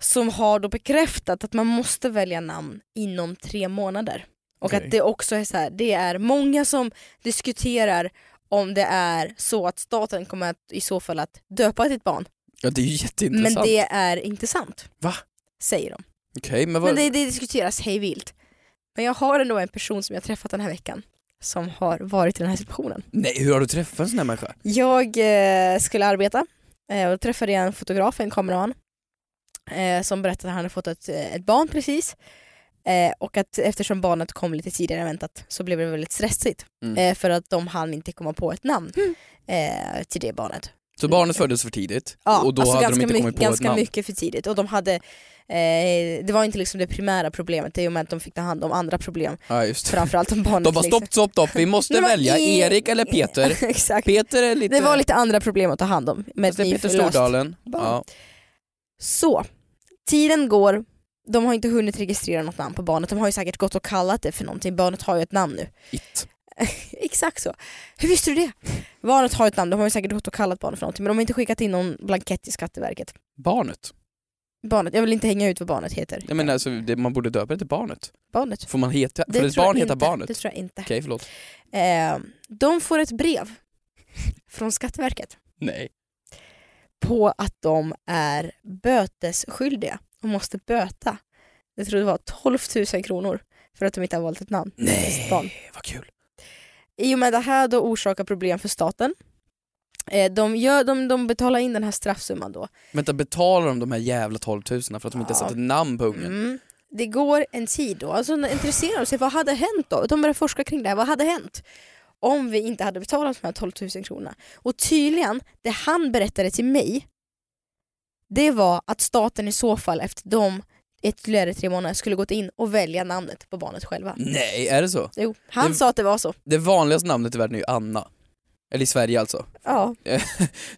Speaker 3: som har då bekräftat att man måste välja namn inom tre månader. Och
Speaker 2: Okej.
Speaker 3: att det också är så här, det är många som diskuterar om det är så att staten kommer att, i så fall att döpa ditt barn.
Speaker 2: Ja det är ju jätteintressant.
Speaker 3: Men det är inte sant.
Speaker 2: Va?
Speaker 3: Säger de.
Speaker 2: Okej men vad...
Speaker 3: Men det, det diskuteras hej vilt. Men jag har ändå en person som jag träffat den här veckan som har varit i den här situationen.
Speaker 2: Nej hur har du träffat en sån här människa?
Speaker 3: Jag eh, skulle arbeta eh, och då träffade jag en fotograf, en kameraman eh, som berättade att han hade fått ett, eh, ett barn precis eh, och att eftersom barnet kom lite tidigare än väntat så blev det väldigt stressigt
Speaker 2: Mm.
Speaker 3: eh, för att de hann inte komma på ett namn eh, till det barnet.
Speaker 2: Så barnet föddes för tidigt
Speaker 3: Ja,
Speaker 2: och då
Speaker 3: alltså
Speaker 2: hade de
Speaker 3: ganska
Speaker 2: inte kommit
Speaker 3: mycket,
Speaker 2: på ett
Speaker 3: ganska
Speaker 2: namn?
Speaker 3: mycket för tidigt och de hade, eh, det var inte liksom det primära problemet i och med att de fick ta hand om andra problem,
Speaker 2: Ja, just det.
Speaker 3: framförallt om barnet.
Speaker 2: De bara
Speaker 3: liksom.
Speaker 2: stopp, stopp, stopp, vi måste
Speaker 3: Det var
Speaker 2: välja
Speaker 3: i-
Speaker 2: Erik eller Peter.
Speaker 3: liksom. Exakt.
Speaker 2: Peter är lite...
Speaker 3: Det var lite andra problem att ta hand om med
Speaker 2: Fast
Speaker 3: ett
Speaker 2: det är Peter
Speaker 3: nyförlöst
Speaker 2: Stordalen.
Speaker 3: barn.
Speaker 2: Ja.
Speaker 3: Så, tiden går, de har inte hunnit registrera något namn på barnet, de har ju säkert gått och kallat det för någonting, barnet har ju ett namn nu.
Speaker 2: It.
Speaker 3: Exakt så. Hur visste du det? Barnet har ett namn, de har ju säkert gått och kallat barnet för någonting men de har inte skickat in någon blankett till Skatteverket.
Speaker 2: Barnet.
Speaker 3: Barnet, jag vill inte hänga ut vad barnet heter.
Speaker 2: Jag menar, alltså, det, man borde döpa det till barnet.
Speaker 3: Barnet.
Speaker 2: Får man heta...
Speaker 3: Det
Speaker 2: Får ett
Speaker 3: tror jag
Speaker 2: barn heta
Speaker 3: inte.
Speaker 2: barnet?
Speaker 3: Det
Speaker 2: Okej,
Speaker 3: tror jag inte.
Speaker 2: förlåt.
Speaker 3: Eh, de får ett brev från Skatteverket
Speaker 2: Nej.
Speaker 3: på att de är bötesskyldiga och måste böta. Jag tror det var 12 000 kronor för att de inte har valt ett namn. till sitt barn.
Speaker 2: Nej, vad kul.
Speaker 3: I och med det här då orsakar problem för staten. Eh, De, gör, de, de betalar in den här straffsumman då.
Speaker 2: Vänta, betalar de de här jävla 12 000 för att de inte
Speaker 3: Ja.
Speaker 2: har satt ett namn på ungen?
Speaker 3: Mm. Det går en tid då, alltså de intresserar de sig vad hade hänt då? De börjar forska kring det här, vad hade hänt? Om vi inte hade betalat de här 12 000 kronorna. Och tydligen, det han berättade till mig, det var att staten i så fall efter de ytterligare tre månader skulle gått in och välja namnet på barnet själva.
Speaker 2: Nej, är det så?
Speaker 3: Jo, han
Speaker 2: Det-
Speaker 3: sa att det var så.
Speaker 2: Det vanligaste namnet i världen är ju Anna. Eller i Sverige alltså.
Speaker 3: Ja.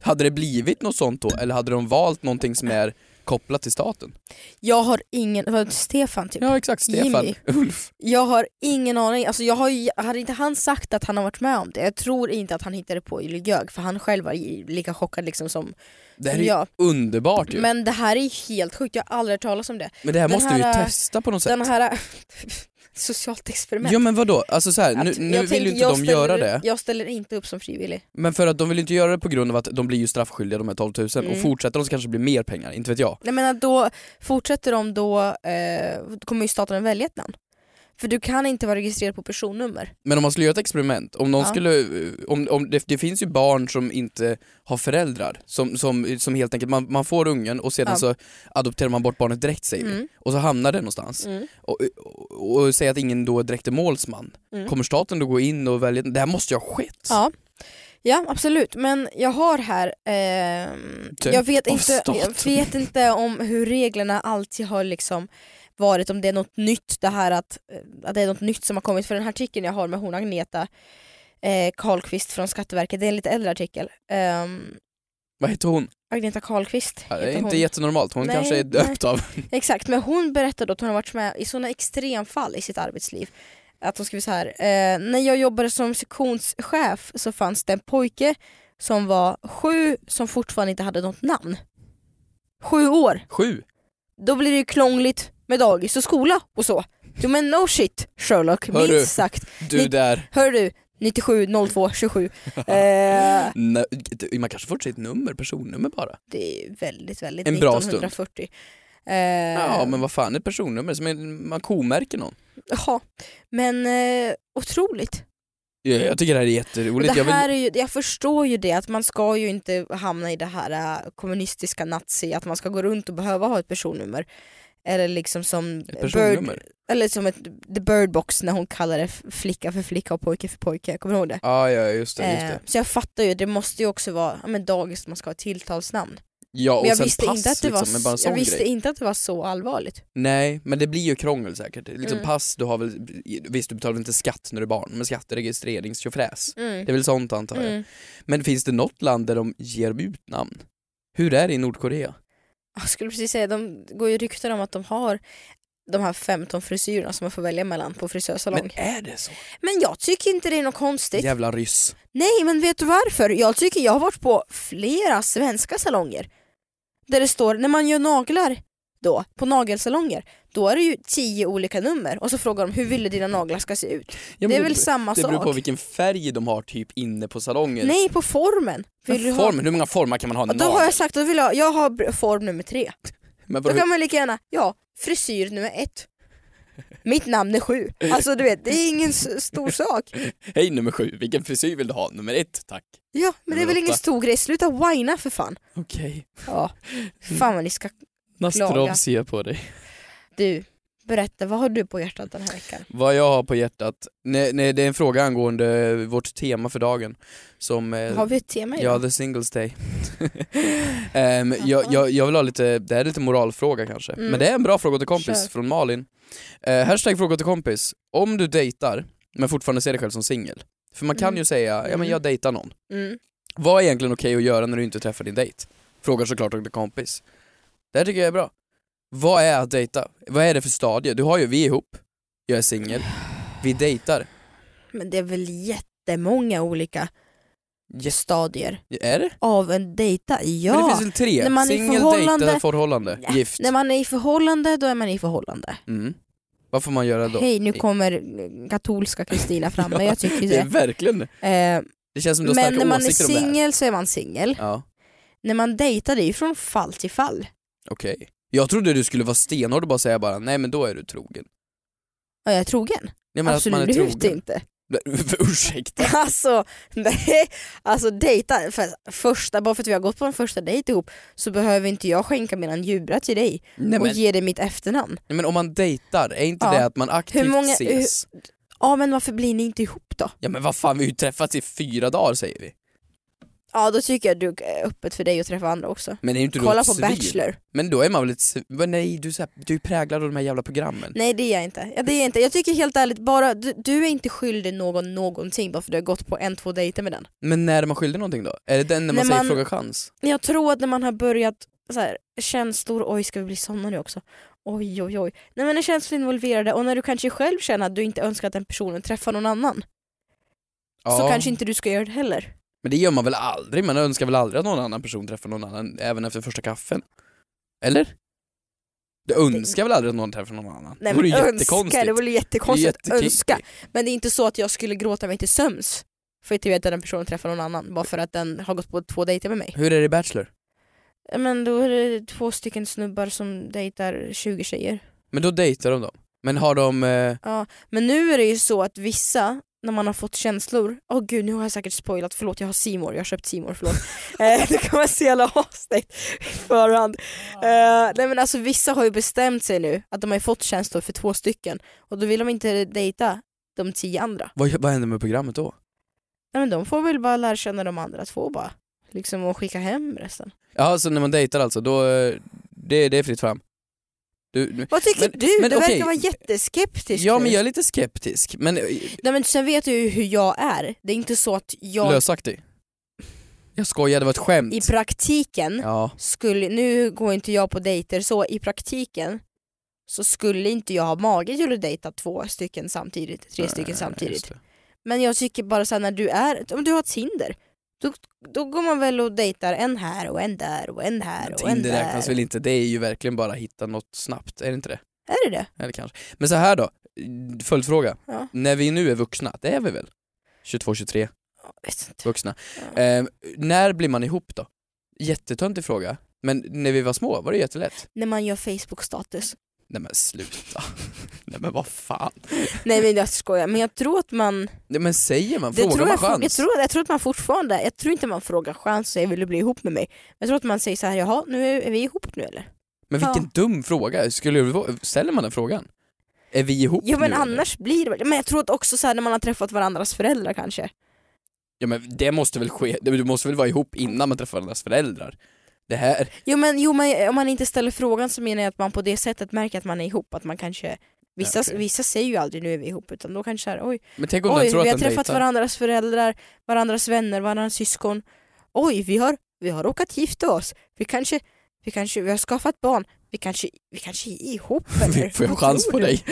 Speaker 2: Hade det blivit något sånt då, eller hade de valt någonting som är kopplat till staten?
Speaker 3: Jag har ingen, vad Stefan typ?
Speaker 2: Ja exakt, Stefan,
Speaker 3: Jimmy.
Speaker 2: Ulf.
Speaker 3: Jag har ingen aning, alltså jag har ju, hade inte han sagt att han har varit med om det, jag tror inte att han hittade på i ljög för han själv var ju lika chockad liksom som,
Speaker 2: Det här är
Speaker 3: som
Speaker 2: ju
Speaker 3: jag.
Speaker 2: underbart ju. Men,
Speaker 3: Men det här är ju helt sjukt, jag har aldrig hört talas om det.
Speaker 2: det här
Speaker 3: den
Speaker 2: måste vi ju
Speaker 3: här- äh,
Speaker 2: testa på något sätt.
Speaker 3: Den här äh, socialt experiment.
Speaker 2: Ja men vadå, alltså så här,
Speaker 3: Att-
Speaker 2: nu,
Speaker 3: jag
Speaker 2: nu vill
Speaker 3: tänker-
Speaker 2: ju inte
Speaker 3: jag
Speaker 2: de
Speaker 3: ställer,
Speaker 2: göra det,
Speaker 3: Jag ställer inte upp som frivillig.
Speaker 2: men för att de vill ju inte göra det på grund av att de blir ju straffskyldiga de här 12 000 och
Speaker 3: Mm.
Speaker 2: fortsätter de så kanske det blir mer pengar, inte vet jag.
Speaker 3: Jag menar då, fortsätter de då, eh, då kommer ju staten att välja ett namn. För du kan inte vara registrerad på personnummer.
Speaker 2: Men om man skulle göra ett experiment, om någon
Speaker 3: Ja.
Speaker 2: skulle, eh, om, om, det, det finns ju barn som inte har föräldrar, som, som, som helt enkelt, man, man får ungen och sedan
Speaker 3: Ja.
Speaker 2: så adopterar man bort barnet direkt säger vi,
Speaker 3: Mm.
Speaker 2: och så hamnar det någonstans.
Speaker 3: Mm.
Speaker 2: Och, och, och säger att ingen då direkt är målsman,
Speaker 3: Mm.
Speaker 2: kommer staten då gå in och välja, det här måste ju ha skett?
Speaker 3: Ja. Ja absolut, men jag har här, ehm,
Speaker 2: Typ
Speaker 3: jag, vet
Speaker 2: av
Speaker 3: inte, jag
Speaker 2: staten.
Speaker 3: vet inte om hur reglerna alltid har liksom varit, om det är något nytt det här att, eh, att det är något nytt som har kommit, för den här artikeln jag har med hon Agneta eh, Karlqvist från Skatteverket, det är en lite äldre artikel. Ehm,
Speaker 2: Vad heter hon?
Speaker 3: Agneta Karlqvist
Speaker 2: Ja, Det
Speaker 3: heter
Speaker 2: är inte
Speaker 3: hon.
Speaker 2: jättenormalt, hon
Speaker 3: Nej,
Speaker 2: kanske är
Speaker 3: nej.
Speaker 2: döpt av
Speaker 3: Exakt, men hon berättade att hon har varit med i sådana extremfall i sitt arbetsliv. Att hon skrev så här, eh, när jag jobbade som sektionschef så fanns det en pojke som var sju som fortfarande inte hade något namn. Sju år,
Speaker 2: sju.
Speaker 3: då blir det ju krångligt med dagis och skola och så. Jo men no shit Sherlock,
Speaker 2: Hörru.
Speaker 3: minst sagt.
Speaker 2: Du
Speaker 3: Ni-
Speaker 2: där.
Speaker 3: Hör du, 97 02 27. Eh,
Speaker 2: Nej, det- man kanske får sitt nummer, personnummer bara.
Speaker 3: det är väldigt väldigt
Speaker 2: En bra stund.
Speaker 3: 1940. Eh,
Speaker 2: Ja men vad fan, ett personnummer som är, man komärker någon.
Speaker 3: ja. men eh, otroligt.
Speaker 2: Jag, jag tycker det här är
Speaker 3: Och
Speaker 2: jätteroligt.
Speaker 3: Det
Speaker 2: Jag
Speaker 3: här
Speaker 2: vill,
Speaker 3: är ju, jag förstår ju det, att man ska ju inte hamna i det här äh, kommunistiska nazi, att man ska gå runt och behöva ha ett personnummer. Eller liksom som,
Speaker 2: ett personnummer.
Speaker 3: Bird, eller som ett, the bird box när hon kallade f- flicka för flicka och pojke för pojke, kommer du ihåg det?
Speaker 2: Ja, ja just det, just
Speaker 3: Eh,
Speaker 2: det.
Speaker 3: Så jag fattar ju, det måste ju också vara ja, men dagis, man ska ha ett tilltalsnamn.
Speaker 2: Ja och
Speaker 3: Men jag
Speaker 2: sen
Speaker 3: visste,
Speaker 2: pass
Speaker 3: inte att, det
Speaker 2: liksom,
Speaker 3: var,
Speaker 2: men bara en
Speaker 3: s-
Speaker 2: sån
Speaker 3: jag visste
Speaker 2: grej.
Speaker 3: inte att det var så allvarligt.
Speaker 2: Nej men det blir ju krångel säkert. Liksom
Speaker 3: Mm.
Speaker 2: pass, du har väl, visst du betalar väl inte skatt när du är barn, men skatt är registreringstjofräs.
Speaker 3: Mm.
Speaker 2: Det är väl sånt antar jag.
Speaker 3: Mm.
Speaker 2: Men finns det något land där de ger ut namn? Hur är det i Nordkorea?
Speaker 3: Jag skulle precis säga, de går ju rykten om att de har de här 15 frisyrerna som man får välja mellan på frisörsalong.
Speaker 2: Men är det så?
Speaker 3: Men jag tycker inte det är något konstigt.
Speaker 2: Jävla ryss.
Speaker 3: Nej men vet du varför? Jag tycker jag har varit på flera svenska salonger där det står när man gör naglar då på nagelsalonger, då är det ju tio olika nummer och så frågar de hur ville dina naglar ska se ut?
Speaker 2: Ja, men
Speaker 3: det är väl samma
Speaker 2: Det beror
Speaker 3: sak?
Speaker 2: på vilken färg de har typ inne på salongen.
Speaker 3: Nej, på formen.
Speaker 2: Men
Speaker 3: Vill du ha...
Speaker 2: formen, hur många former kan man ha en
Speaker 3: Och då
Speaker 2: nagel?
Speaker 3: har jag sagt att vill jag, jag har br- form nummer tre.
Speaker 2: Men
Speaker 3: Då
Speaker 2: vadå,
Speaker 3: kan man lika gärna, ja, frisyr nummer ett. Mitt namn är sju. Alltså du vet, det är ingen s- stor sak.
Speaker 2: hej nummer sju, vilken frisyr vill du ha? Nummer ett, tack.
Speaker 3: Ja, men det är väl ingen stor grej. Sluta whina för fan.
Speaker 2: Okej,
Speaker 3: Ja,
Speaker 2: Mm.
Speaker 3: fan vad ni ska...
Speaker 2: Nastrov
Speaker 3: Klaga.
Speaker 2: ser jag på dig.
Speaker 3: Du, berätta, vad har du på hjärtat den här veckan?
Speaker 2: Vad jag har på hjärtat? Nej, nej, det är en fråga angående vårt tema för dagen. Som, eh,
Speaker 3: Har vi ett tema
Speaker 2: Ja,
Speaker 3: idag?
Speaker 2: the singles day. Ehm, jag, jag, jag vill ha lite, det här är lite moralfråga kanske,
Speaker 3: Mm.
Speaker 2: men det är en bra fråga till kompis
Speaker 3: Kör.
Speaker 2: från Malin. Eh, hashtag fråga till kompis, om du dejtar men fortfarande ser dig själv som singel, för man kan
Speaker 3: Mm.
Speaker 2: ju säga ja men jag dejtar någon,
Speaker 3: Mm.
Speaker 2: vad är egentligen okej att göra när du inte träffar din dejt? Frågar såklart till kompis. Det här tycker jag är bra. Vad är att dejta? Vad är det för stadie? Du har ju, vi är ihop, jag är singel, vi dejtar.
Speaker 3: Men det är väl jättemånga olika
Speaker 2: Yes.
Speaker 3: stadier
Speaker 2: Är det?
Speaker 3: av en dejta?
Speaker 2: Men det
Speaker 3: Ja!
Speaker 2: finns väl tre?
Speaker 3: När man är i
Speaker 2: Singel,
Speaker 3: förhållande-
Speaker 2: dejtar, förhållande,
Speaker 3: Ja,
Speaker 2: gift.
Speaker 3: När man är i förhållande, då är man i förhållande.
Speaker 2: Mm. Vad får man göra då?
Speaker 3: Hej, nu kommer katolska Kristina fram, men jag tycker ju
Speaker 2: det är
Speaker 3: det.
Speaker 2: verkligen det.
Speaker 3: Eh,
Speaker 2: Det känns som du har
Speaker 3: Men när
Speaker 2: starka
Speaker 3: man är
Speaker 2: åsikter om det här.
Speaker 3: singel så är man singel.
Speaker 2: Ja,
Speaker 3: När man dejtar, det är ju från fall till fall.
Speaker 2: okej. Jag trodde du skulle vara stenhård och bara säga bara nej men då är du trogen.
Speaker 3: Och jag är trogen.
Speaker 2: Nej, men
Speaker 3: Absolut
Speaker 2: att man är trogen.
Speaker 3: inte.
Speaker 2: Ursäkta.
Speaker 3: Alltså, nej, alltså dejta, för första, bara för att vi har gått på en första dejt ihop så behöver inte jag skänka mina njura till dig
Speaker 2: Nej,
Speaker 3: och
Speaker 2: men,
Speaker 3: ge dig mitt efternamn.
Speaker 2: nej, men om man dejtar, är inte
Speaker 3: Ja.
Speaker 2: det att man aktivt
Speaker 3: Hur många-
Speaker 2: ses?
Speaker 3: Ja men varför blir ni inte ihop då?
Speaker 2: Ja men vad fan, vi har ju träffats i fyra dagar säger vi.
Speaker 3: Ja då tycker jag att det är öppet för dig att träffa andra också.
Speaker 2: Men är inte du
Speaker 3: Kolla
Speaker 2: ett
Speaker 3: på
Speaker 2: svin?
Speaker 3: Bachelor.
Speaker 2: Men då är man väl ett svin? Men Nej, du är, så här, du är präglad av de här jävla programmen.
Speaker 3: Nej det är jag inte. Ja, det är jag inte. Jag tycker helt ärligt, bara, du, du är inte skyldig någon någonting bara för att du har gått på en, två dejter med den.
Speaker 2: Men när är man skyldig någonting då? Är det den när man
Speaker 3: När
Speaker 2: säger
Speaker 3: man-
Speaker 2: fråga chans?
Speaker 3: Jag tror att när man har börjat så här, känslor, oj ska vi bli såna nu också? Oj oj oj. Nej men när känslor är involverade och när du kanske själv känner att du inte önskar att den personen träffar någon annan så kanske inte du ska göra det heller.
Speaker 2: Men det gör man väl aldrig? Man önskar väl aldrig att någon annan person träffar någon annan även efter första kaffen? Eller? Du önskar väl aldrig att någon träffar någon annan?
Speaker 3: Nej
Speaker 2: det vore
Speaker 3: men
Speaker 2: ju
Speaker 3: önska,
Speaker 2: jättekonstigt.
Speaker 3: det vore jättekonstigt att
Speaker 2: Det är jättekinkigt.
Speaker 3: önska. Men det är inte så att jag skulle gråta mig till sömns för att jag vet att den personen träffar någon annan bara för att den har gått på två dejter med mig.
Speaker 2: Hur är det i Bachelor?
Speaker 3: Ja, Men då är det två stycken snubbar som dejtar 20 tjejer.
Speaker 2: Men då dejtar de dem. Men har de... Eh,
Speaker 3: Ja, men nu är det ju så att vissa, när man har fått känslor, åh gud nu har jag säkert spoilat, förlåt jag har Simor, jag har köpt Simor, förlåt. eh, det kommer så jävla avstängt i förhand. Eh, nej men alltså vissa har ju bestämt sig nu att de har ju fått känslor för två stycken och då vill de inte dejta de tio andra.
Speaker 2: vad, vad händer med programmet då?
Speaker 3: Nej men de får väl bara lära känna de andra två bara. Liksom och skicka hem resten.
Speaker 2: Ja, så när man dejtar alltså, då... eh, Det, det är fritt fram. Du, nu-
Speaker 3: Vad tycker
Speaker 2: Men-
Speaker 3: du?
Speaker 2: men
Speaker 3: du
Speaker 2: okej.
Speaker 3: verkar vara jätteskeptisk
Speaker 2: ja,
Speaker 3: nu.
Speaker 2: men jag är lite skeptisk. Men eh,
Speaker 3: Nej men sen vet du ju hur jag är. Det är inte så att jag
Speaker 2: lösaktig. Jag skojar, det var ett skämt.
Speaker 3: i praktiken
Speaker 2: Ja,
Speaker 3: skulle, nu går inte jag på dejter så i praktiken så skulle inte jag ha mage till att dejta två stycken samtidigt, tre stycken
Speaker 2: just
Speaker 3: samtidigt.
Speaker 2: det.
Speaker 3: Men jag tycker bara såhär när du är, om du har Tinder, då, då går man väl och dejtar en här och en där och en här och en
Speaker 2: Tinder räknas
Speaker 3: där.
Speaker 2: väl inte, det är ju verkligen bara hitta något snabbt, är det inte det?
Speaker 3: Är det det?
Speaker 2: Eller kanske. Men så här då, följdfråga.
Speaker 3: Ja.
Speaker 2: När vi nu är vuxna, det är vi väl? 22, 23,
Speaker 3: Jag vet inte.
Speaker 2: vuxna. Eh, när blir man ihop då? Jättetöntig fråga, men när vi var små var det jättelätt.
Speaker 3: När man gör Facebook-status.
Speaker 2: Nej men sluta. Nej men vad fan.
Speaker 3: Nej men jag skojar, men jag tror att man...
Speaker 2: Nej men säger man,
Speaker 3: Det
Speaker 2: frågar
Speaker 3: tror
Speaker 2: man
Speaker 3: jag,
Speaker 2: chans?
Speaker 3: jag, tror, jag tror att man fortfarande, jag tror inte man frågar chans och säger vill du bli ihop med mig? Jag tror att man säger så här, jaha nu är, är vi ihop nu eller?
Speaker 2: Men vilken
Speaker 3: Ja.
Speaker 2: dum fråga, Skulle du, ställer man den frågan? Är vi ihop
Speaker 3: Ja men
Speaker 2: nu, eller?
Speaker 3: annars blir det väl- men jag tror att också så här när man har träffat varandras föräldrar kanske.
Speaker 2: Ja men det måste väl ske, du måste väl vara ihop innan man träffar varandras föräldrar? Det här,
Speaker 3: Jo men, jo, men om man inte ställer frågan så menar jag att man på det sättet märker att man är ihop, att man kanske Vissa,
Speaker 2: Okej.
Speaker 3: vissa säger ju aldrig nu är vi ihop utan då kanske såhär oj,
Speaker 2: men tänk om den
Speaker 3: oj
Speaker 2: tror
Speaker 3: vi har
Speaker 2: att den
Speaker 3: träffat
Speaker 2: dejtar.
Speaker 3: varandras föräldrar, varandras vänner, varandras syskon. Oj vi har, vi har råkat gifta oss, vi kanske, vi kanske vi har skaffat barn, vi kanske, vi kanske är ihop eller?
Speaker 2: Får jag
Speaker 3: Vad
Speaker 2: chans
Speaker 3: tror
Speaker 2: på
Speaker 3: du?
Speaker 2: dig?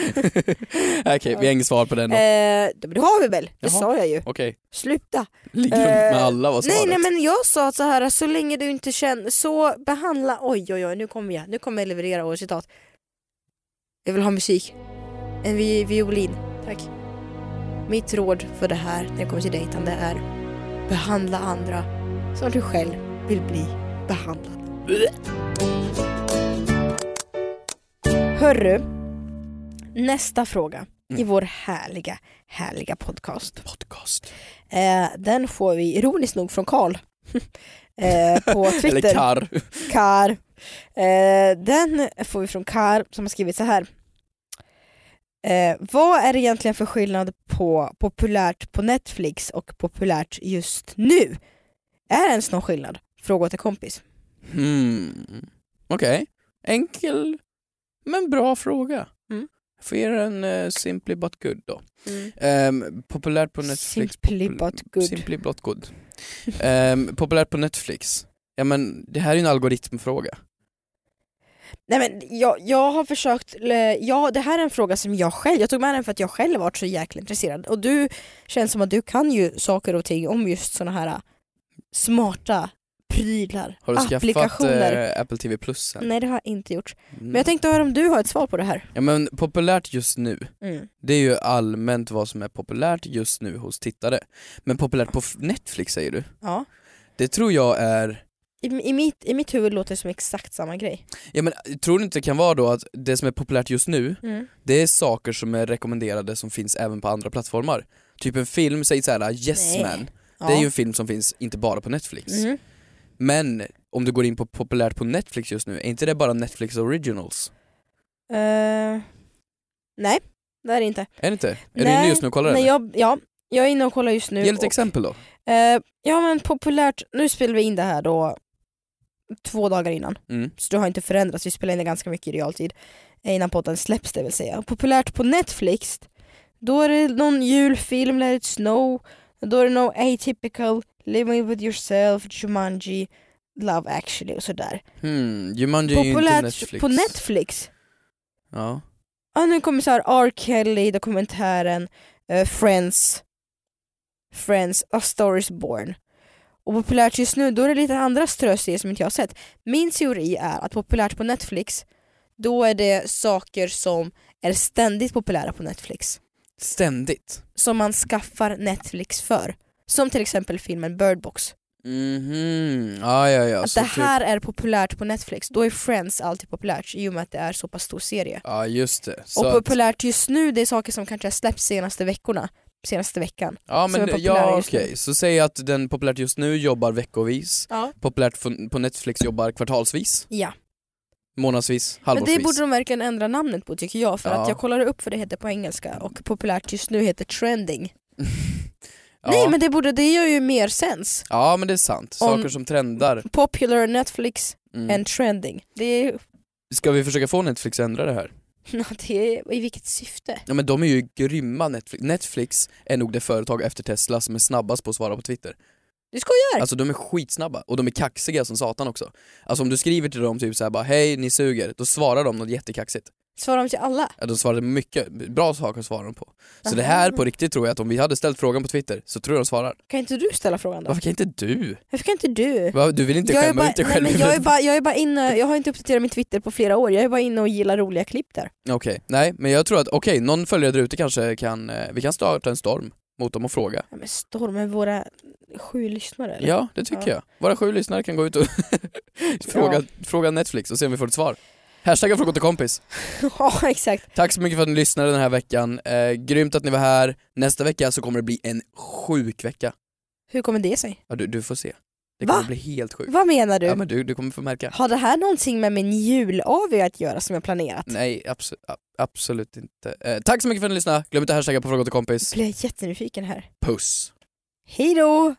Speaker 2: Okej, vi har inget svar på den då.
Speaker 3: Eh, det- men det har vi väl? Det
Speaker 2: Jaha.
Speaker 3: sa jag ju.
Speaker 2: Okej,
Speaker 3: Sluta.
Speaker 2: ligger runt med alla var
Speaker 3: Nej
Speaker 2: svaret.
Speaker 3: nej men jag sa att så här så länge du inte känner så behandla oj oj oj nu kommer jag nu kommer jag leverera och citat. Jag vill ha musik. En vi- violin. Tack. Mitt råd för det här när det kommer till dejtande är behandla andra som du själv vill bli behandlad. Hörru, nästa fråga i vår härliga, härliga podcast.
Speaker 2: Podcast.
Speaker 3: Eh, den får vi ironiskt nog från Karl. eh, på
Speaker 2: Eller
Speaker 3: Twitter.
Speaker 2: karr.
Speaker 3: Kar. Eh, den får vi från Kar som har skrivit så här. Eh, vad är det egentligen för skillnad på populärt på Netflix och populärt just nu? Är det ens någon skillnad? Fråga åt en kompis.
Speaker 2: Hmm. Okej, enkel men bra fråga.
Speaker 3: Mm.
Speaker 2: Får ge den eh, Simply But Good då. Ehm, populärt på Netflix.
Speaker 3: Simply
Speaker 2: popul-
Speaker 3: but good.
Speaker 2: Simply But Good. Ehm, populärt på Netflix. Ja men det här är ju en algoritmfråga.
Speaker 3: Nej men jag, jag har försökt, le- ja det här är en fråga som jag själv, jag tog med den för att jag själv varit så jäkla intresserad och du känns som att du kan ju saker och ting om just såna här äh, smarta prylar,
Speaker 2: Har du skaffat
Speaker 3: applikationer.
Speaker 2: eh, Apple TV Plus sen?
Speaker 3: Nej det har jag inte gjort.
Speaker 2: Mm.
Speaker 3: Men jag tänkte höra om du har ett svar på det här.
Speaker 2: Ja men populärt just nu,
Speaker 3: Mm.
Speaker 2: det är ju allmänt vad som är populärt just nu hos tittare. Men populärt på f- Netflix säger du?
Speaker 3: Ja.
Speaker 2: Det tror jag är
Speaker 3: I, i, mitt, I mitt huvud låter det som exakt samma grej.
Speaker 2: Ja men tror du inte det kan vara då att det som är populärt just nu,
Speaker 3: Mm.
Speaker 2: det är saker som är rekommenderade som finns även på andra plattformar? Typ en film, säg såhär Yes
Speaker 3: Nej.
Speaker 2: Man,
Speaker 3: Ja.
Speaker 2: det är ju en film som finns inte bara på Netflix.
Speaker 3: Mm.
Speaker 2: Men om du går in på populärt på Netflix just nu, är inte det bara Netflix originals?
Speaker 3: Eh, nej, det är det inte.
Speaker 2: Är det inte? Är du
Speaker 3: Nej,
Speaker 2: inne just nu och kollar
Speaker 3: nej,
Speaker 2: eller?
Speaker 3: jag, Ja, jag är inne och kollar just nu.
Speaker 2: Ge lite
Speaker 3: och-
Speaker 2: exempel då.
Speaker 3: Eh, ja men populärt, nu spelar vi in det här då två dagar innan.
Speaker 2: Mm.
Speaker 3: Så det har inte förändrats, vi spelar in det ganska mycket i realtid. eh, Innan podden släpps det vill säga. Och Populärt på Netflix, då är det någon julfilm, Let it snow, då är det någon atypical, Living with yourself, Jumanji, Love actually och sådär.
Speaker 2: Hmm, Jumanji är ju inte
Speaker 3: Populärt
Speaker 2: Netflix.
Speaker 3: på Netflix,
Speaker 2: Ja.
Speaker 3: ja nu kommer så här R. Kelly, dokumentären, eh, Friends, Friends, A Star Is Born. Och populärt just nu, då är det lite andra ströserier som inte jag har sett. Min teori är att populärt på Netflix, då är det saker som är ständigt populära på Netflix.
Speaker 2: Ständigt.
Speaker 3: Som man skaffar Netflix för. Som till exempel filmen Bird Box.
Speaker 2: Mhm, ja ja ja.
Speaker 3: Att
Speaker 2: Så typ.
Speaker 3: det här är populärt på Netflix, då är Friends alltid populärt i och med att det är så pass stor serie.
Speaker 2: Typ, ja just det. Så
Speaker 3: Och
Speaker 2: att-
Speaker 3: populärt just nu, det är saker som kanske har släppts senaste veckorna, senaste veckan.
Speaker 2: Ja
Speaker 3: som
Speaker 2: men
Speaker 3: är populära
Speaker 2: ja
Speaker 3: just nu.
Speaker 2: okej, så säg att den populärt just nu jobbar veckovis,
Speaker 3: Ja.
Speaker 2: populärt fun- på Netflix jobbar kvartalsvis, månadsvis,
Speaker 3: Men
Speaker 2: halvårsvis.
Speaker 3: det borde de verkligen ändra namnet på tycker jag, för
Speaker 2: Ja.
Speaker 3: att jag kollade upp vad det heter på engelska och populärt just nu heter trending.
Speaker 2: ja.
Speaker 3: Nej men det, borde, det gör ju mer sens.
Speaker 2: ja men det är sant, saker
Speaker 3: Om-
Speaker 2: som trendar.
Speaker 3: Popular Netflix
Speaker 2: Mm.
Speaker 3: and trending. Det är,
Speaker 2: Ska vi försöka få Netflix att ändra det här?
Speaker 3: det är, i vilket syfte?
Speaker 2: Ja men de är ju grymma Netflix, Netflix är nog det företag efter Tesla som är snabbast på att svara på Twitter.
Speaker 3: Du skojar?
Speaker 2: Alltså de är skitsnabba och de är kaxiga som satan också. Alltså om du skriver till dem typ såhär bara hej ni suger, då svarar de något jättekaxigt.
Speaker 3: Svarar de till alla?
Speaker 2: Ja, de svarade mycket bra saker svarade de på. Så det här på riktigt tror jag att om vi hade ställt frågan på Twitter så tror jag de svarar.
Speaker 3: Kan inte du ställa frågan då?
Speaker 2: Varför kan inte du?
Speaker 3: Varför kan inte du?
Speaker 2: Va, Du vill inte
Speaker 3: Jag är,
Speaker 2: skämma
Speaker 3: bara,
Speaker 2: ut dig
Speaker 3: nej,
Speaker 2: själv?
Speaker 3: men jag, är bara, jag är bara inne, jag har inte uppdaterat min Twitter på flera år, jag är bara inne och gillar roliga klipp där.
Speaker 2: Okej, nej men jag tror att okej, någon följare där ute kanske kan, eh, vi kan starta en storm mot dem och fråga.
Speaker 3: Ja, men stormen våra sju lyssnare eller?
Speaker 2: Ja, det tycker
Speaker 3: Ja.
Speaker 2: jag. Våra sju lyssnare kan gå ut och fråga, fråga Netflix och se om vi får ett svar. Hashtagga fråga till kompis.
Speaker 3: ja exakt.
Speaker 2: Tack så mycket för att ni lyssnade den här veckan. Eh, grymt att ni var här. Nästa vecka så kommer det bli en sjuk vecka.
Speaker 3: Hur kommer det sig?
Speaker 2: Ja, du, du får se. Det
Speaker 3: Va?
Speaker 2: kommer bli helt sjukt.
Speaker 3: Vad menar du?
Speaker 2: Ja men du, du kommer få märka.
Speaker 3: Har det här någonting med min jul-AW att göra som jag planerat?
Speaker 2: Nej, absolut, absolut inte. Eh, tack så mycket för att ni lyssnade. Glöm inte att hashtagga på fråga till kompis.
Speaker 3: Blir jag jättenyfiken här.
Speaker 2: Puss!
Speaker 3: Hej då!